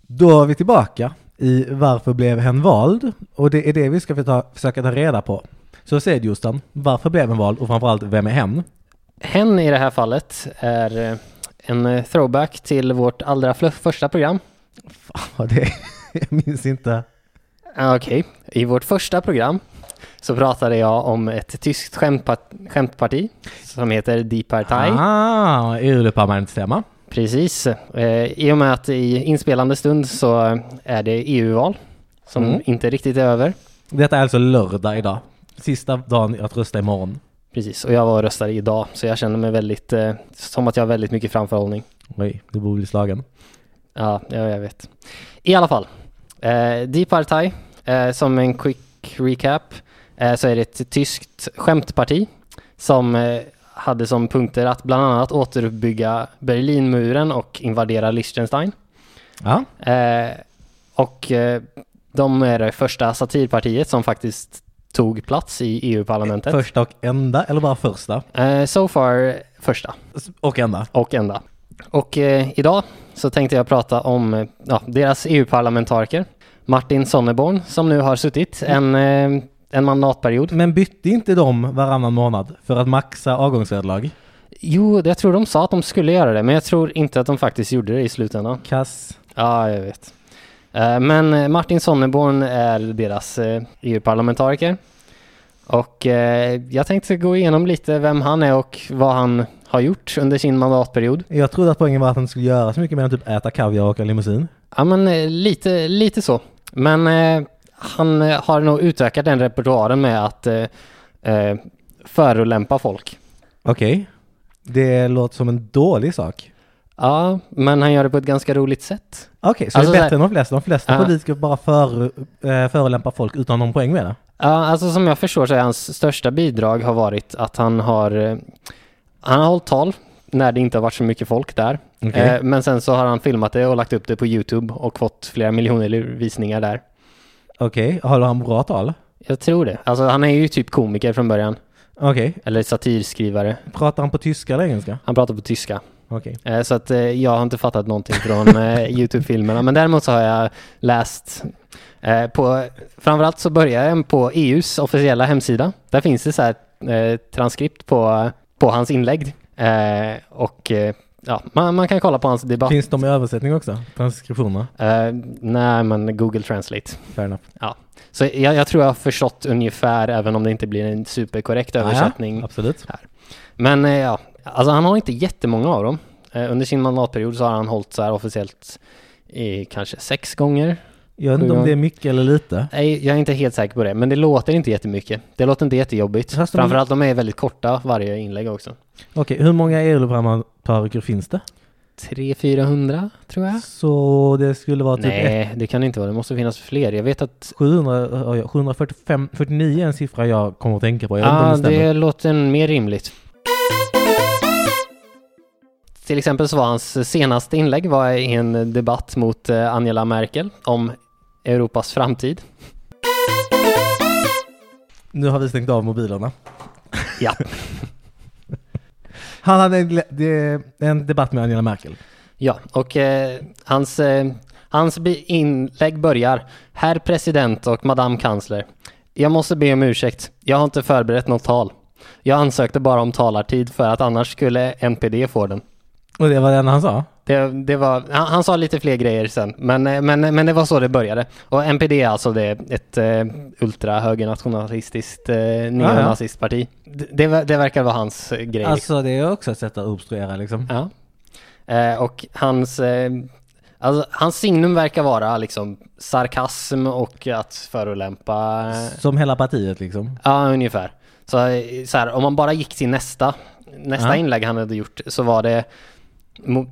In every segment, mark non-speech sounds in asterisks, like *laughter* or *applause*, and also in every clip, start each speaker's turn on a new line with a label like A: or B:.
A: Då är vi tillbaka i varför blev hen vald? Och det är det vi ska ta, försöka ta reda på. Så säg det, Jostan, varför blev hen vald och framförallt vem är hen?
B: Hen i det här fallet är eh, en eh, throwback till vårt allra fl- första program.
A: Ja, det, *laughs* jag minns inte.
B: Ah, Okej, i vårt första program så pratade jag om ett tyskt skämtpa- skämtparti som heter Die Partei.
A: Ah, EU-parlamentsstämma.
B: Precis. Eh, I och med att i inspelande stund så är det EU-val som
A: Mm.
B: inte riktigt är över.
A: Detta är alltså lördag idag. Sista dagen att rösta imorgon.
B: Precis, och jag var och röstade idag så jag känner mig väldigt, eh, som att jag har väldigt mycket framförhållning.
A: Oj, du borde bli slagen.
B: Ja, ja jag vet. I alla fall, eh, Die Partei, eh, som en quick recap, eh, så är det ett tyskt skämtparti som eh, hade som punkter att bland annat återuppbygga Berlinmuren och invadera Liechtenstein.
A: Ja,
B: Eh, och eh, de är det första satirpartiet som faktiskt tog plats i EU-parlamentet.
A: första och enda, eller bara första?
B: Eh, so far första
A: Och enda.
B: och enda. Och eh, idag så tänkte jag prata om eh, ja, deras EU-parlamentariker. Martin Sonneborn som nu har suttit en, eh, en mandatperiod.
A: Men bytte inte de varannan månad för att maxa avgångsvederlag?
B: Jo, jag tror de sa att de skulle göra det, men jag tror inte att de faktiskt gjorde det i slutändan.
A: Kass.
B: Ja, jag vet. Eh, Men eh, Martin Sonneborn är deras eh, EU-parlamentariker. Och eh, jag tänkte gå igenom lite vem han är och vad han har gjort under sin mandatperiod.
A: Jag trodde att poängen var att han skulle göra så mycket mer än typ äta kaviar och åka limousin.
B: Ja, men eh, lite, lite så. Men eh, han eh, har nog utökat den repertoaren med att eh, eh, förolämpa folk.
A: Okej. Det låter som en dålig sak.
B: Ja, men han gör det på ett ganska roligt sätt.
A: Okej, så
B: Alltså
A: det är
B: så här-
A: bättre än de flesta. De flesta
B: Ja.
A: politiker bara för, eh, förolämpar folk utan någon poäng med det.
B: Ja, alltså som jag förstår så är hans största bidrag har varit att han har eh, han har hållit tal när det inte har varit så mycket folk där.
A: Okej.
B: Eh, Men sen så har han filmat det och lagt upp det på YouTube och fått flera miljoner visningar där.
A: Okej, håller han bra tal?
B: Jag tror det. Alltså han är ju typ komiker från början.
A: Okej,
B: Eller satirskrivare.
A: pratar han på tyska eller engelska?
B: Han pratar på tyska.
A: Okej.
B: Eh, Så att eh, jag har inte fattat någonting
A: *laughs*
B: från eh, YouTube-filmerna. Men däremot så har jag läst eh, på, framförallt så börjar jag på EUs officiella hemsida. Där finns det så här eh, transkript på, på hans inlägg. Eh, Och eh, ja, man, man kan kolla på hans debatt.
A: Finns de i översättning också? Transkriptionerna?
B: Eh, Nej, men Google Translate.
A: Fair enough.
B: Så jag, jag tror jag har förstått ungefär, även om det inte blir en superkorrekt översättning.
A: Ja, absolut.
B: Men eh, ja, alltså han har inte jättemånga av dem. Eh, Under sin mandatperiod så har han hållit så här officiellt i kanske sex gånger.
A: Jag vet inte om det är mycket eller lite.
B: Nej, jag är inte helt säker på det, men det låter inte jättemycket. Det låter inte jättejobbigt.
A: Fast de-
B: Framförallt de är väldigt korta, varje inlägg också.
A: Okej, hur många EU-parlamentariker finns det?
B: 300-400 tror jag.
A: Så det skulle vara typ ett-
B: Nej, det kan det inte vara. Det måste finnas fler. Jag vet att...
A: 700, oj, 745, 49 är en siffra jag kommer att tänka på. Jag vet inte
B: Ja,
A: om det
B: Ah, det,
A: stämmer.
B: låter mer rimligt. Till exempel så var hans senaste inlägg var i en debatt mot eh, Angela Merkel om Europas framtid.
A: Nu har vi stängt av mobilerna.
B: Ja.
A: Han hade en, gla- det- en debatt med Angela Merkel.
B: Ja, och eh, hans, eh, hans bi- inlägg börjar. Herr president och madame kansler. Jag måste be om ursäkt. Jag har inte förberett något tal. Jag ansökte bara om talartid för att annars skulle NPD få den.
A: Och det var det enda han sa.
B: Det, det var, han, han sa lite fler grejer sen, men, eh, men, men det var så det började. Och NPD är alltså det, ett eh, ultrahögernationalistiskt eh, neonazistparti. Det, det, ver- det verkar vara hans eh, grej.
A: Alltså det är också ett sätt att obstruera liksom.
B: Ja. Eh, och hans, eh, alltså, hans signum verkar vara liksom sarkasm och att förolämpa. eh,
A: Som hela partiet liksom.
B: Ja, ungefär. Så, eh, så här, om man bara gick till nästa, nästa
A: Ja.
B: inlägg han hade gjort så var det mo-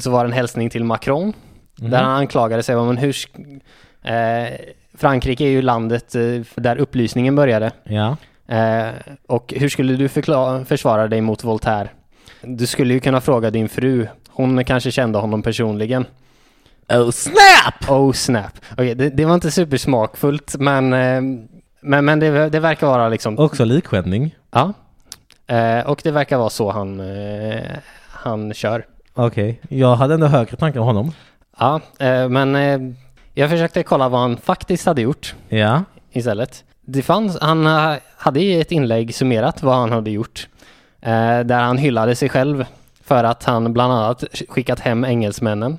B: så var det en hälsning till Macron. Där han anklagade sig, men hur... sk- Eh, Frankrike är ju landet eh, där upplysningen började.
A: Ja.
B: Eh, och hur skulle du förkla- försvara dig mot Voltaire? Du skulle ju kunna fråga din fru. Hon kanske kände honom personligen.
A: Oh snap!
B: Oh snap. Okej, det, det var inte supersmakfullt, men, eh, men, men det, det verkar vara liksom...
A: Också likskändning.
B: Ja. Eh, och det verkar vara så han, eh, han kör.
A: Okej, jag hade ändå högre tankar om honom.
B: Ja, eh, men eh, jag försökte kolla vad han faktiskt hade gjort
A: Ja.
B: istället. Det fanns, han eh, hade i ett inlägg summerat vad han hade gjort. eh, Där han hyllade sig själv för att han bland annat skickat hem engelsmännen.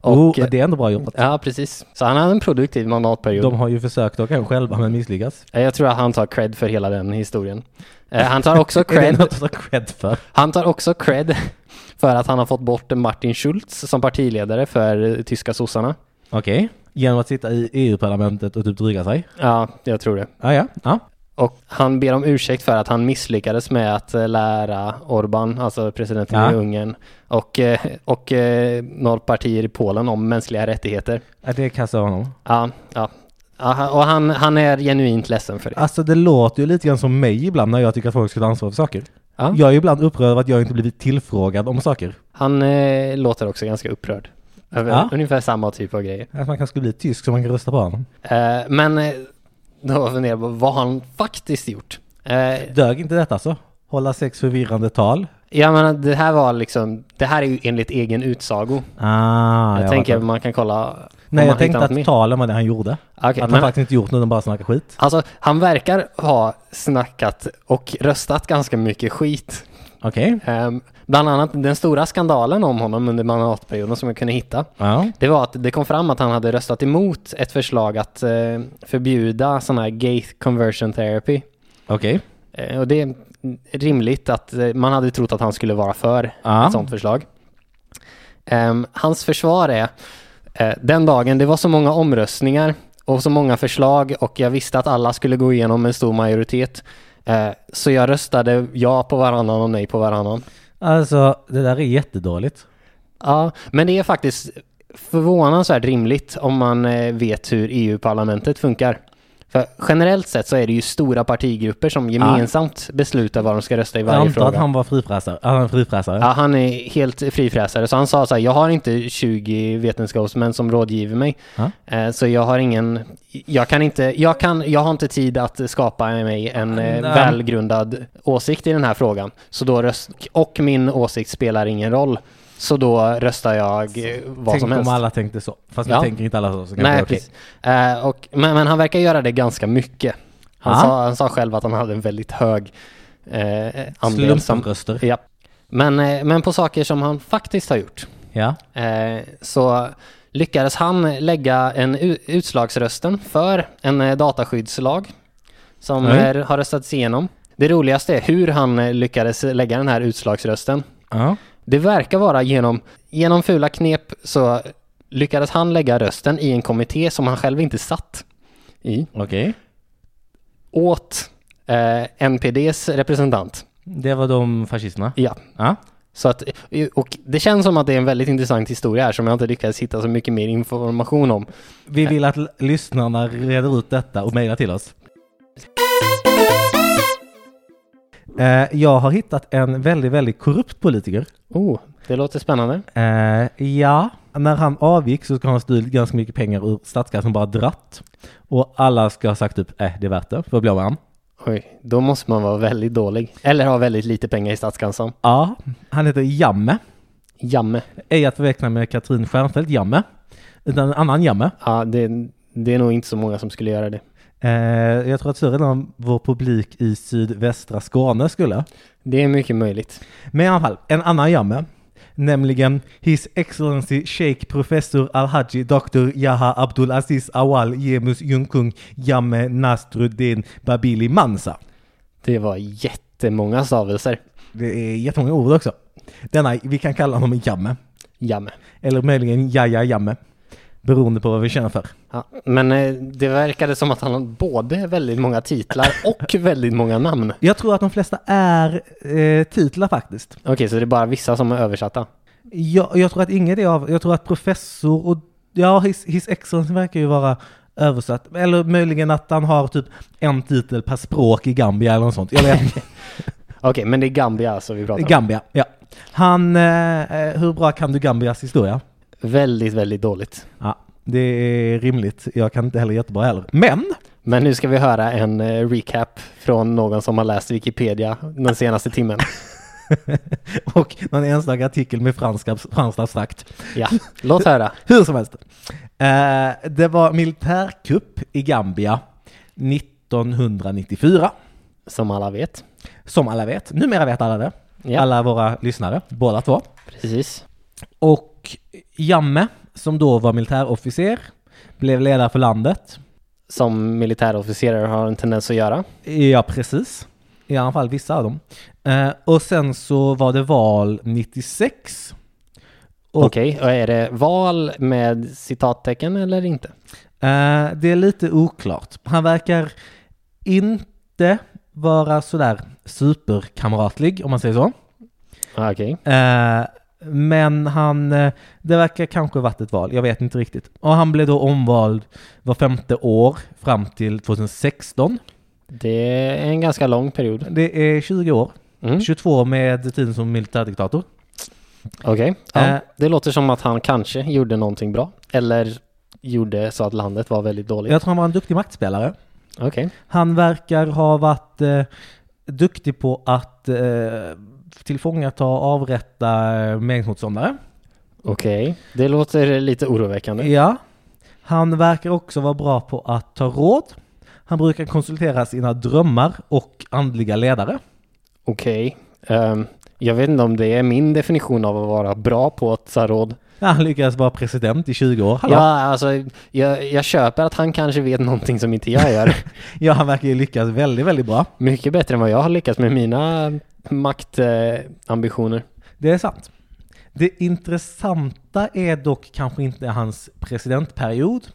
B: Och,
A: Och, oh, det är ändå bra jobbat.
B: Ja, precis. Så han hade en produktiv mandatperiod.
A: De har ju försökt åka hem själva men misslyckats.
B: Eh, Jag tror att han tar cred för hela den historien. Eh, Han tar
A: *laughs*
B: också
A: Är det
B: cred,
A: något att ta cred för?
B: han tar också cred för att han har fått bort Martin Schulz som partiledare för eh, tyska sossarna.
A: Okej. Genom att sitta i EU-parlamentet och typ dryga sig?
B: Ja, jag tror det.
A: Ah, ja, ja.
B: Och han ber om ursäkt för att han misslyckades med att eh, lära Orbán, alltså presidenten
A: Ja.
B: i Ungern, och, eh, och eh, några partier i Polen om mänskliga rättigheter.
A: ja. Det kastar honom.
B: Ja, ja. Aha, och han, han är genuint ledsen för det.
A: Alltså det låter ju lite grann som mig ibland när jag tycker att folk ska ta ansvar för saker.
B: Ja.
A: Jag är ibland upprörd över att jag inte blivit tillfrågad om saker.
B: Han eh, låter också ganska upprörd. Över
A: Ja.
B: ungefär samma typ av grejer.
A: Att man kanske skulle bli tysk så man kan rösta på honom.
B: Eh, men eh, då funderar jag på vad har han faktiskt gjort. Eh,
A: Dög inte detta så? Hålla sex förvirrande tal?
B: jag menar, det här var liksom, det här är ju enligt egen utsago.
A: Ah,
B: jag tänker man kan kolla om
A: Nej,
B: man
A: jag
B: hittar
A: tänkte
B: något
A: att
B: mer.
A: talen var det han gjorde.
B: Okej,
A: att han
B: men-
A: faktiskt inte gjort något, utan bara snackar skit.
B: Alltså, han verkar ha snackat och röstat ganska mycket skit.
A: Okej.
B: Ehm, bland annat den stora skandalen om honom under mandatperioden som jag kunde hitta.
A: Ja.
B: Det var att det kom fram att han hade röstat emot ett förslag att eh, förbjuda sån här gate conversion therapy.
A: Okej.
B: Eh, Och det är rimligt att eh, man hade trott att han skulle vara för
A: Ja.
B: ett sånt förslag. Ehm, hans försvar är, eh, den dagen det var så många omröstningar och så många förslag och jag visste att alla skulle gå igenom med en stor majoritet. eh, så jag röstade ja på varannan och nej på varannan.
A: Alltså, det där är jättedåligt.
B: Ja, men det är faktiskt förvånansvärt rimligt om man eh, vet hur EU-parlamentet funkar. För generellt sett så är det ju stora partigrupper som gemensamt beslutar vad de ska rösta i
A: Jag
B: varje
A: antar
B: fråga.
A: att han var frifräsare. Han är en frifräsare.
B: Ja, han är helt frifräsare. Så han sa så här, jag har inte 20 vetenskapsmän som rådgiver mig.
A: Ja.
B: Eh, Så jag har ingen, jag kan inte, jag kan, jag har inte tid att skapa mig en eh,
A: Nej.
B: välgrundad åsikt i den här frågan. Så då röst, och min åsikt spelar ingen roll. Så då röstar jag eh, vad
A: Tänk
B: som helst.
A: om alla tänkte så. Fast
B: Ja.
A: nu tänker inte alla så. så kanske det
B: Nej,
A: är okej.
B: precis. Eh, och, men, men han verkar göra det ganska mycket. Han,
A: Ja.
B: sa, han sa själv att han hade en väldigt hög eh, andel som...
A: Slumpröster.
B: Ja. Men, eh, men på saker som han faktiskt har gjort
A: Ja.
B: eh, så lyckades han lägga en u- utslagsrösten för en eh, dataskyddslag som
A: Oj.
B: eh, har röstats igenom. Det roligaste är hur han eh, lyckades lägga den här utslagsrösten.
A: Ja.
B: Det verkar vara genom, genom fula knep så lyckades han lägga rösten i en kommitté som han själv inte satt i
A: Okej.
B: åt eh, NPDs representant.
A: Det var de fascisterna.
B: Ja.
A: Ja.
B: Så att, och det känns som att det är en väldigt intressant historia här som jag inte lyckats hitta så mycket mer information om.
A: Vi vill att l- lyssnarna reder ut detta och mejlar till oss. Eh, jag har hittat en väldigt, väldigt korrupt politiker.
B: Oh, det låter spännande.
A: Eh, ja, när han avgick så ska han ha stulit ganska mycket pengar ur statskassan bara dratt. Och alla ska ha sagt typ, eh, det är värt det, för att bli av med han.
B: Oj, då måste man vara väldigt dålig. Eller ha väldigt lite pengar i statskassan.
A: Ja, han heter Jamme.
B: Jamme.
A: Ej att förväxla med Katrin Stjernfeldt Jamme, utan en annan Jamme.
B: Ja, det, det är nog inte så många som skulle göra det.
A: Eh, jag tror att större delen av vår publik i sydvästra Skåne skulle.
B: Det är mycket möjligt.
A: Men i alla fall, en annan jamme. Nämligen His Excellency Sheikh Professor Al-Haji Dr. Yaha Abdul Aziz Awal Jemus Junkung Jamme Nasruddin Babili Mansa.
B: Det var jättemånga stavelser.
A: Det är jättemånga ord också. Denna, vi kan kalla honom Jamme.
B: Jamme.
A: Eller möjligen Jaja Jamme. Beroende på vad vi känner för.
B: Ja, men eh, det verkade som att han hade både väldigt många titlar och väldigt många namn.
A: Jag tror att de flesta är eh, titlar faktiskt.
B: Okej, så det är bara vissa som är översatta.
A: Jag, jag tror att inget är av, jag tror att professor och, ja, his, his excellence verkar ju vara översatt. Eller möjligen att han har typ en titel per språk i Gambia eller något sånt. Jag vet inte.
B: Okej, men det är Gambia alltså vi pratar om.
A: Gambia, ja. Han, eh, eh, hur bra kan du Gambias historia?
B: Väldigt, väldigt dåligt.
A: Ja, det är rimligt. Jag kan inte heller jättebra heller. Men!
B: Men nu ska vi höra
A: *laughs*
B: en eh, recap från någon som har läst Wikipedia den senaste timmen.
A: och någon enstaka artikel med fransk, abs- franskt abstrakt.
B: Ja, låt höra.
A: Hur som helst. Eh, det var militärkupp i Gambia 1994.
B: Som alla vet.
A: Som alla vet. Numera vet alla det.
B: Ja.
A: Alla våra lyssnare, båda två.
B: Precis.
A: Och Jamme, som då var militärofficer, blev ledare för landet.
B: Som militärofficerare har en tendens att göra.
A: Ja, precis. I alla fall vissa av dem. Eh, och sen så var det val 96. Och-
B: Okej, och är det val med citattecken eller inte?
A: Eh, det är lite oklart. Han verkar inte vara sådär superkamratlig, om man säger så.
B: Ah, Okej.
A: Eh, men han, eh, det verkar kanske varit ett val, jag vet inte riktigt. Och han blev då omvald var femte år fram till 2016.
B: Det är en ganska lång period.
A: Det är 20 år,
B: Mm.
A: 22 med tiden som militärdiktator.
B: Okej. Ja.
A: Eh.
B: Det låter som att han kanske gjorde någonting bra. Eller gjorde så att landet var väldigt dåligt.
A: Jag tror han var en duktig maktspelare.
B: Okej.
A: Han verkar ha varit eh, duktig på att eh, tillfångata och avrätta eh, meningsmotståndare.
B: Okej. Det låter lite oroväckande.
A: Ja. Han verkar också vara bra på att ta råd. Han brukar konsultera sina drömmar och andliga ledare.
B: Okej. Ehm, jag vet inte om det är min definition av att vara bra på att ta råd.
A: Ja, han lyckades vara president i 20 år. Hallå.
B: Ja, alltså, jag, jag köper att han kanske vet någonting som inte
A: *laughs*
B: jag gör.
A: ja, han verkar ju lyckas väldigt, väldigt bra.
B: Mycket bättre än vad jag har lyckats med mina maktambitioner.
A: Det är sant. Det intressanta är dock kanske inte hans presidentperiod,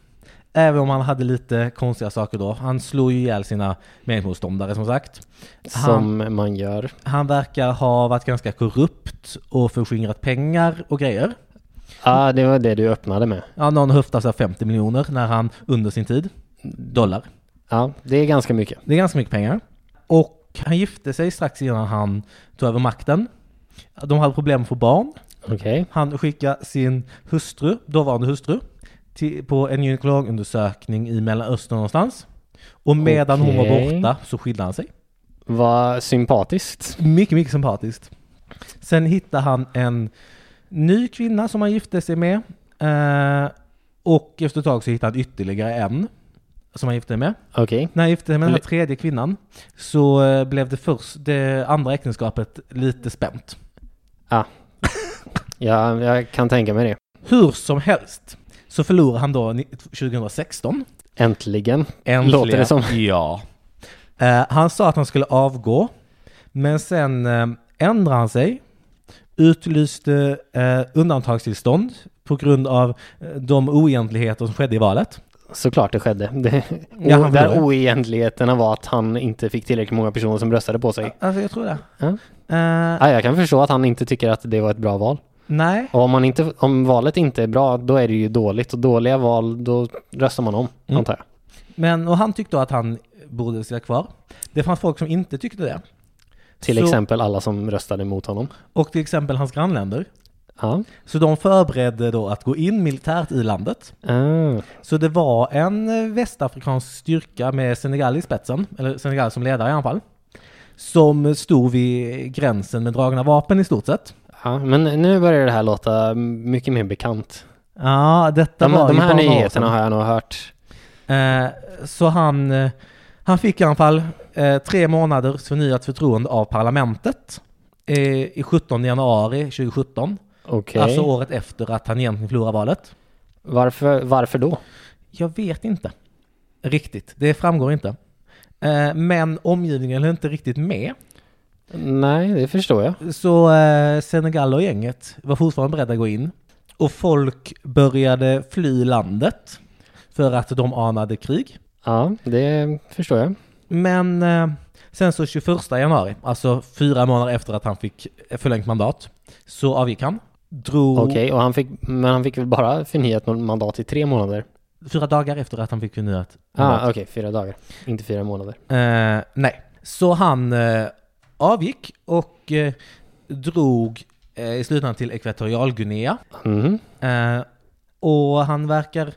A: även om han hade lite konstiga saker då. Han slog ju ihjäl sina meningsmotståndare som sagt. Han,
B: som man gör.
A: han verkar ha varit ganska korrupt och förskingrat pengar och grejer.
B: Ja, det var det du öppnade med.
A: Ja, någon höftade sig 50 miljoner när han under sin tid, dollar.
B: Ja, det är ganska mycket.
A: Det är ganska mycket pengar. Och han gifte sig strax innan han tog över makten. De hade problem med att få barn.
B: Okej.
A: Han skickade sin hustru, dåvarande hustru, till, på en gynekologundersökning i Mellanöstern någonstans. Och medan hon var
B: Okej.
A: borta så skilde han sig.
B: Vad sympatiskt.
A: Mycket, mycket sympatiskt. Sen hittade han en ny kvinna som han gifte sig med. Eh, och efter ett tag så hittade han ytterligare en som han gifte sig med.
B: Okej.
A: När han gifte sig med den här
B: Le-
A: tredje kvinnan så eh, blev det, först, det andra äktenskapet lite spänt.
B: Ja, jag kan tänka mig det.
A: Hur som helst så förlorade han då ni- 2016.
B: Äntligen.
A: Äntligen.
B: Låter det som.
A: Ja. Eh, han sa att han skulle avgå, men sen eh, ändrade han sig, utlyste eh, undantagstillstånd på grund av eh, de oegentligheter som skedde i valet.
B: Såklart det skedde. Det,
A: Ja, han
B: o, där
A: förlorade.
B: oegentligheterna var att han inte fick tillräckligt många personer som röstade på sig.
A: Alltså jag tror det.
B: Ja.
A: Eh,
B: Ja, jag kan förstå att han inte tycker att det var ett bra val.
A: nej,
B: Och om, man inte, om valet inte är bra, då är det ju dåligt. Och dåliga val, då röstar man om,
A: Mm.
B: antar jag.
A: men och han tyckte då att han borde sitta kvar. Det fanns folk som inte tyckte det.
B: Till
A: Så-
B: exempel alla som röstade mot honom.
A: Och till exempel hans grannländer.
B: Ja.
A: Så de förberedde då att gå in militärt i landet.
B: Ah.
A: Så det var en eh, västafrikansk styrka med Senegal i spetsen, eller Senegal som ledare i alla fall, som stod vid gränsen med dragna vapen i stort sett.
B: Ja, men nu börjar det här låta mycket mer bekant.
A: Ja, detta
B: De,
A: var
B: de
A: ju
B: här
A: bara några år
B: nyheterna
A: sedan.
B: har jag nog hört.
A: Eh, Så han, eh, han fick i alla fall eh, tre månaders förnyat förtroende av parlamentet eh, i 17 januari 2017,
B: Okej.
A: alltså året efter att han egentligen förlorade valet.
B: varför, varför då?
A: Jag vet inte riktigt, det framgår inte. Eh, Men omgivningen höll inte riktigt med.
B: Nej, det förstår jag.
A: Så eh, Senegal och gänget var fortfarande beredda att gå in. Och folk började fly landet för att de anade krig.
B: Ja, det förstår jag.
A: Men eh, sen så 21 januari, alltså fyra månader efter att han fick förlängt mandat, så avgick han. Drog
B: Okej, och han fick, men han fick väl bara förnyat något mandat i tre månader?
A: fyra dagar efter att han fick förnyat
B: Ah,
A: mandat.
B: Okej, fyra dagar. Inte fyra månader.
A: Eh, nej, så han eh, avgick och eh, drog eh, i slutändan till Ekvatorialguinea.
B: Mhm.
A: Eh, och han verkar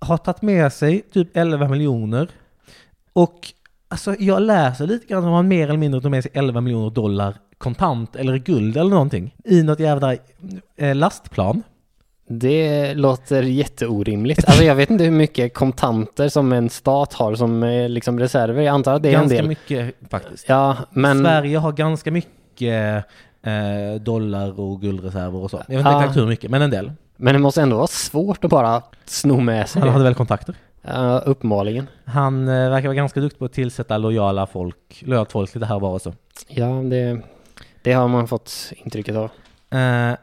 A: ha tagit med sig typ 11 miljoner. Och Alltså jag läser lite grann om han mer eller mindre tog med sig 11 miljoner dollar kontant eller i guld eller någonting i något jävla eh, lastplan.
B: Det låter jätteorimligt. Alltså jag vet inte hur mycket kontanter som en stat har som eh, liksom reserver. Jag antar att det är
A: ganska
B: en del.
A: mycket faktiskt.
B: Ja, men...
A: Sverige har ganska mycket eh, dollar och guldreserver och så. Jag vet inte
B: Ja.
A: exakt hur mycket, men en del.
B: Men det måste ändå vara svårt att bara sno med sig
A: Han
B: det.
A: hade väl kontakter.
B: Ja, uppenbarligen.
A: Han eh, verkar vara ganska duktig på att tillsätta lojala folk, lojalt folk lite här och var och så.
B: Ja, det, det har man fått intrycket av.
A: Eh,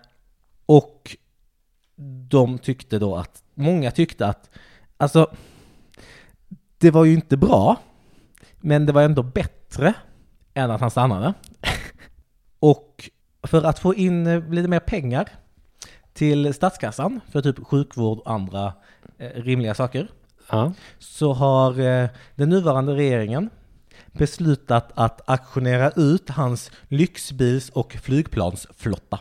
A: och de tyckte då att, många tyckte att, alltså, det var ju inte bra, men det var ändå bättre än att han stannade. *laughs* och för att få in eh, lite mer pengar till statskassan för typ sjukvård och andra eh, rimliga saker
B: Ja.
A: så har eh, den nuvarande regeringen beslutat att auktionera ut hans lyxbils och flygplansflotta.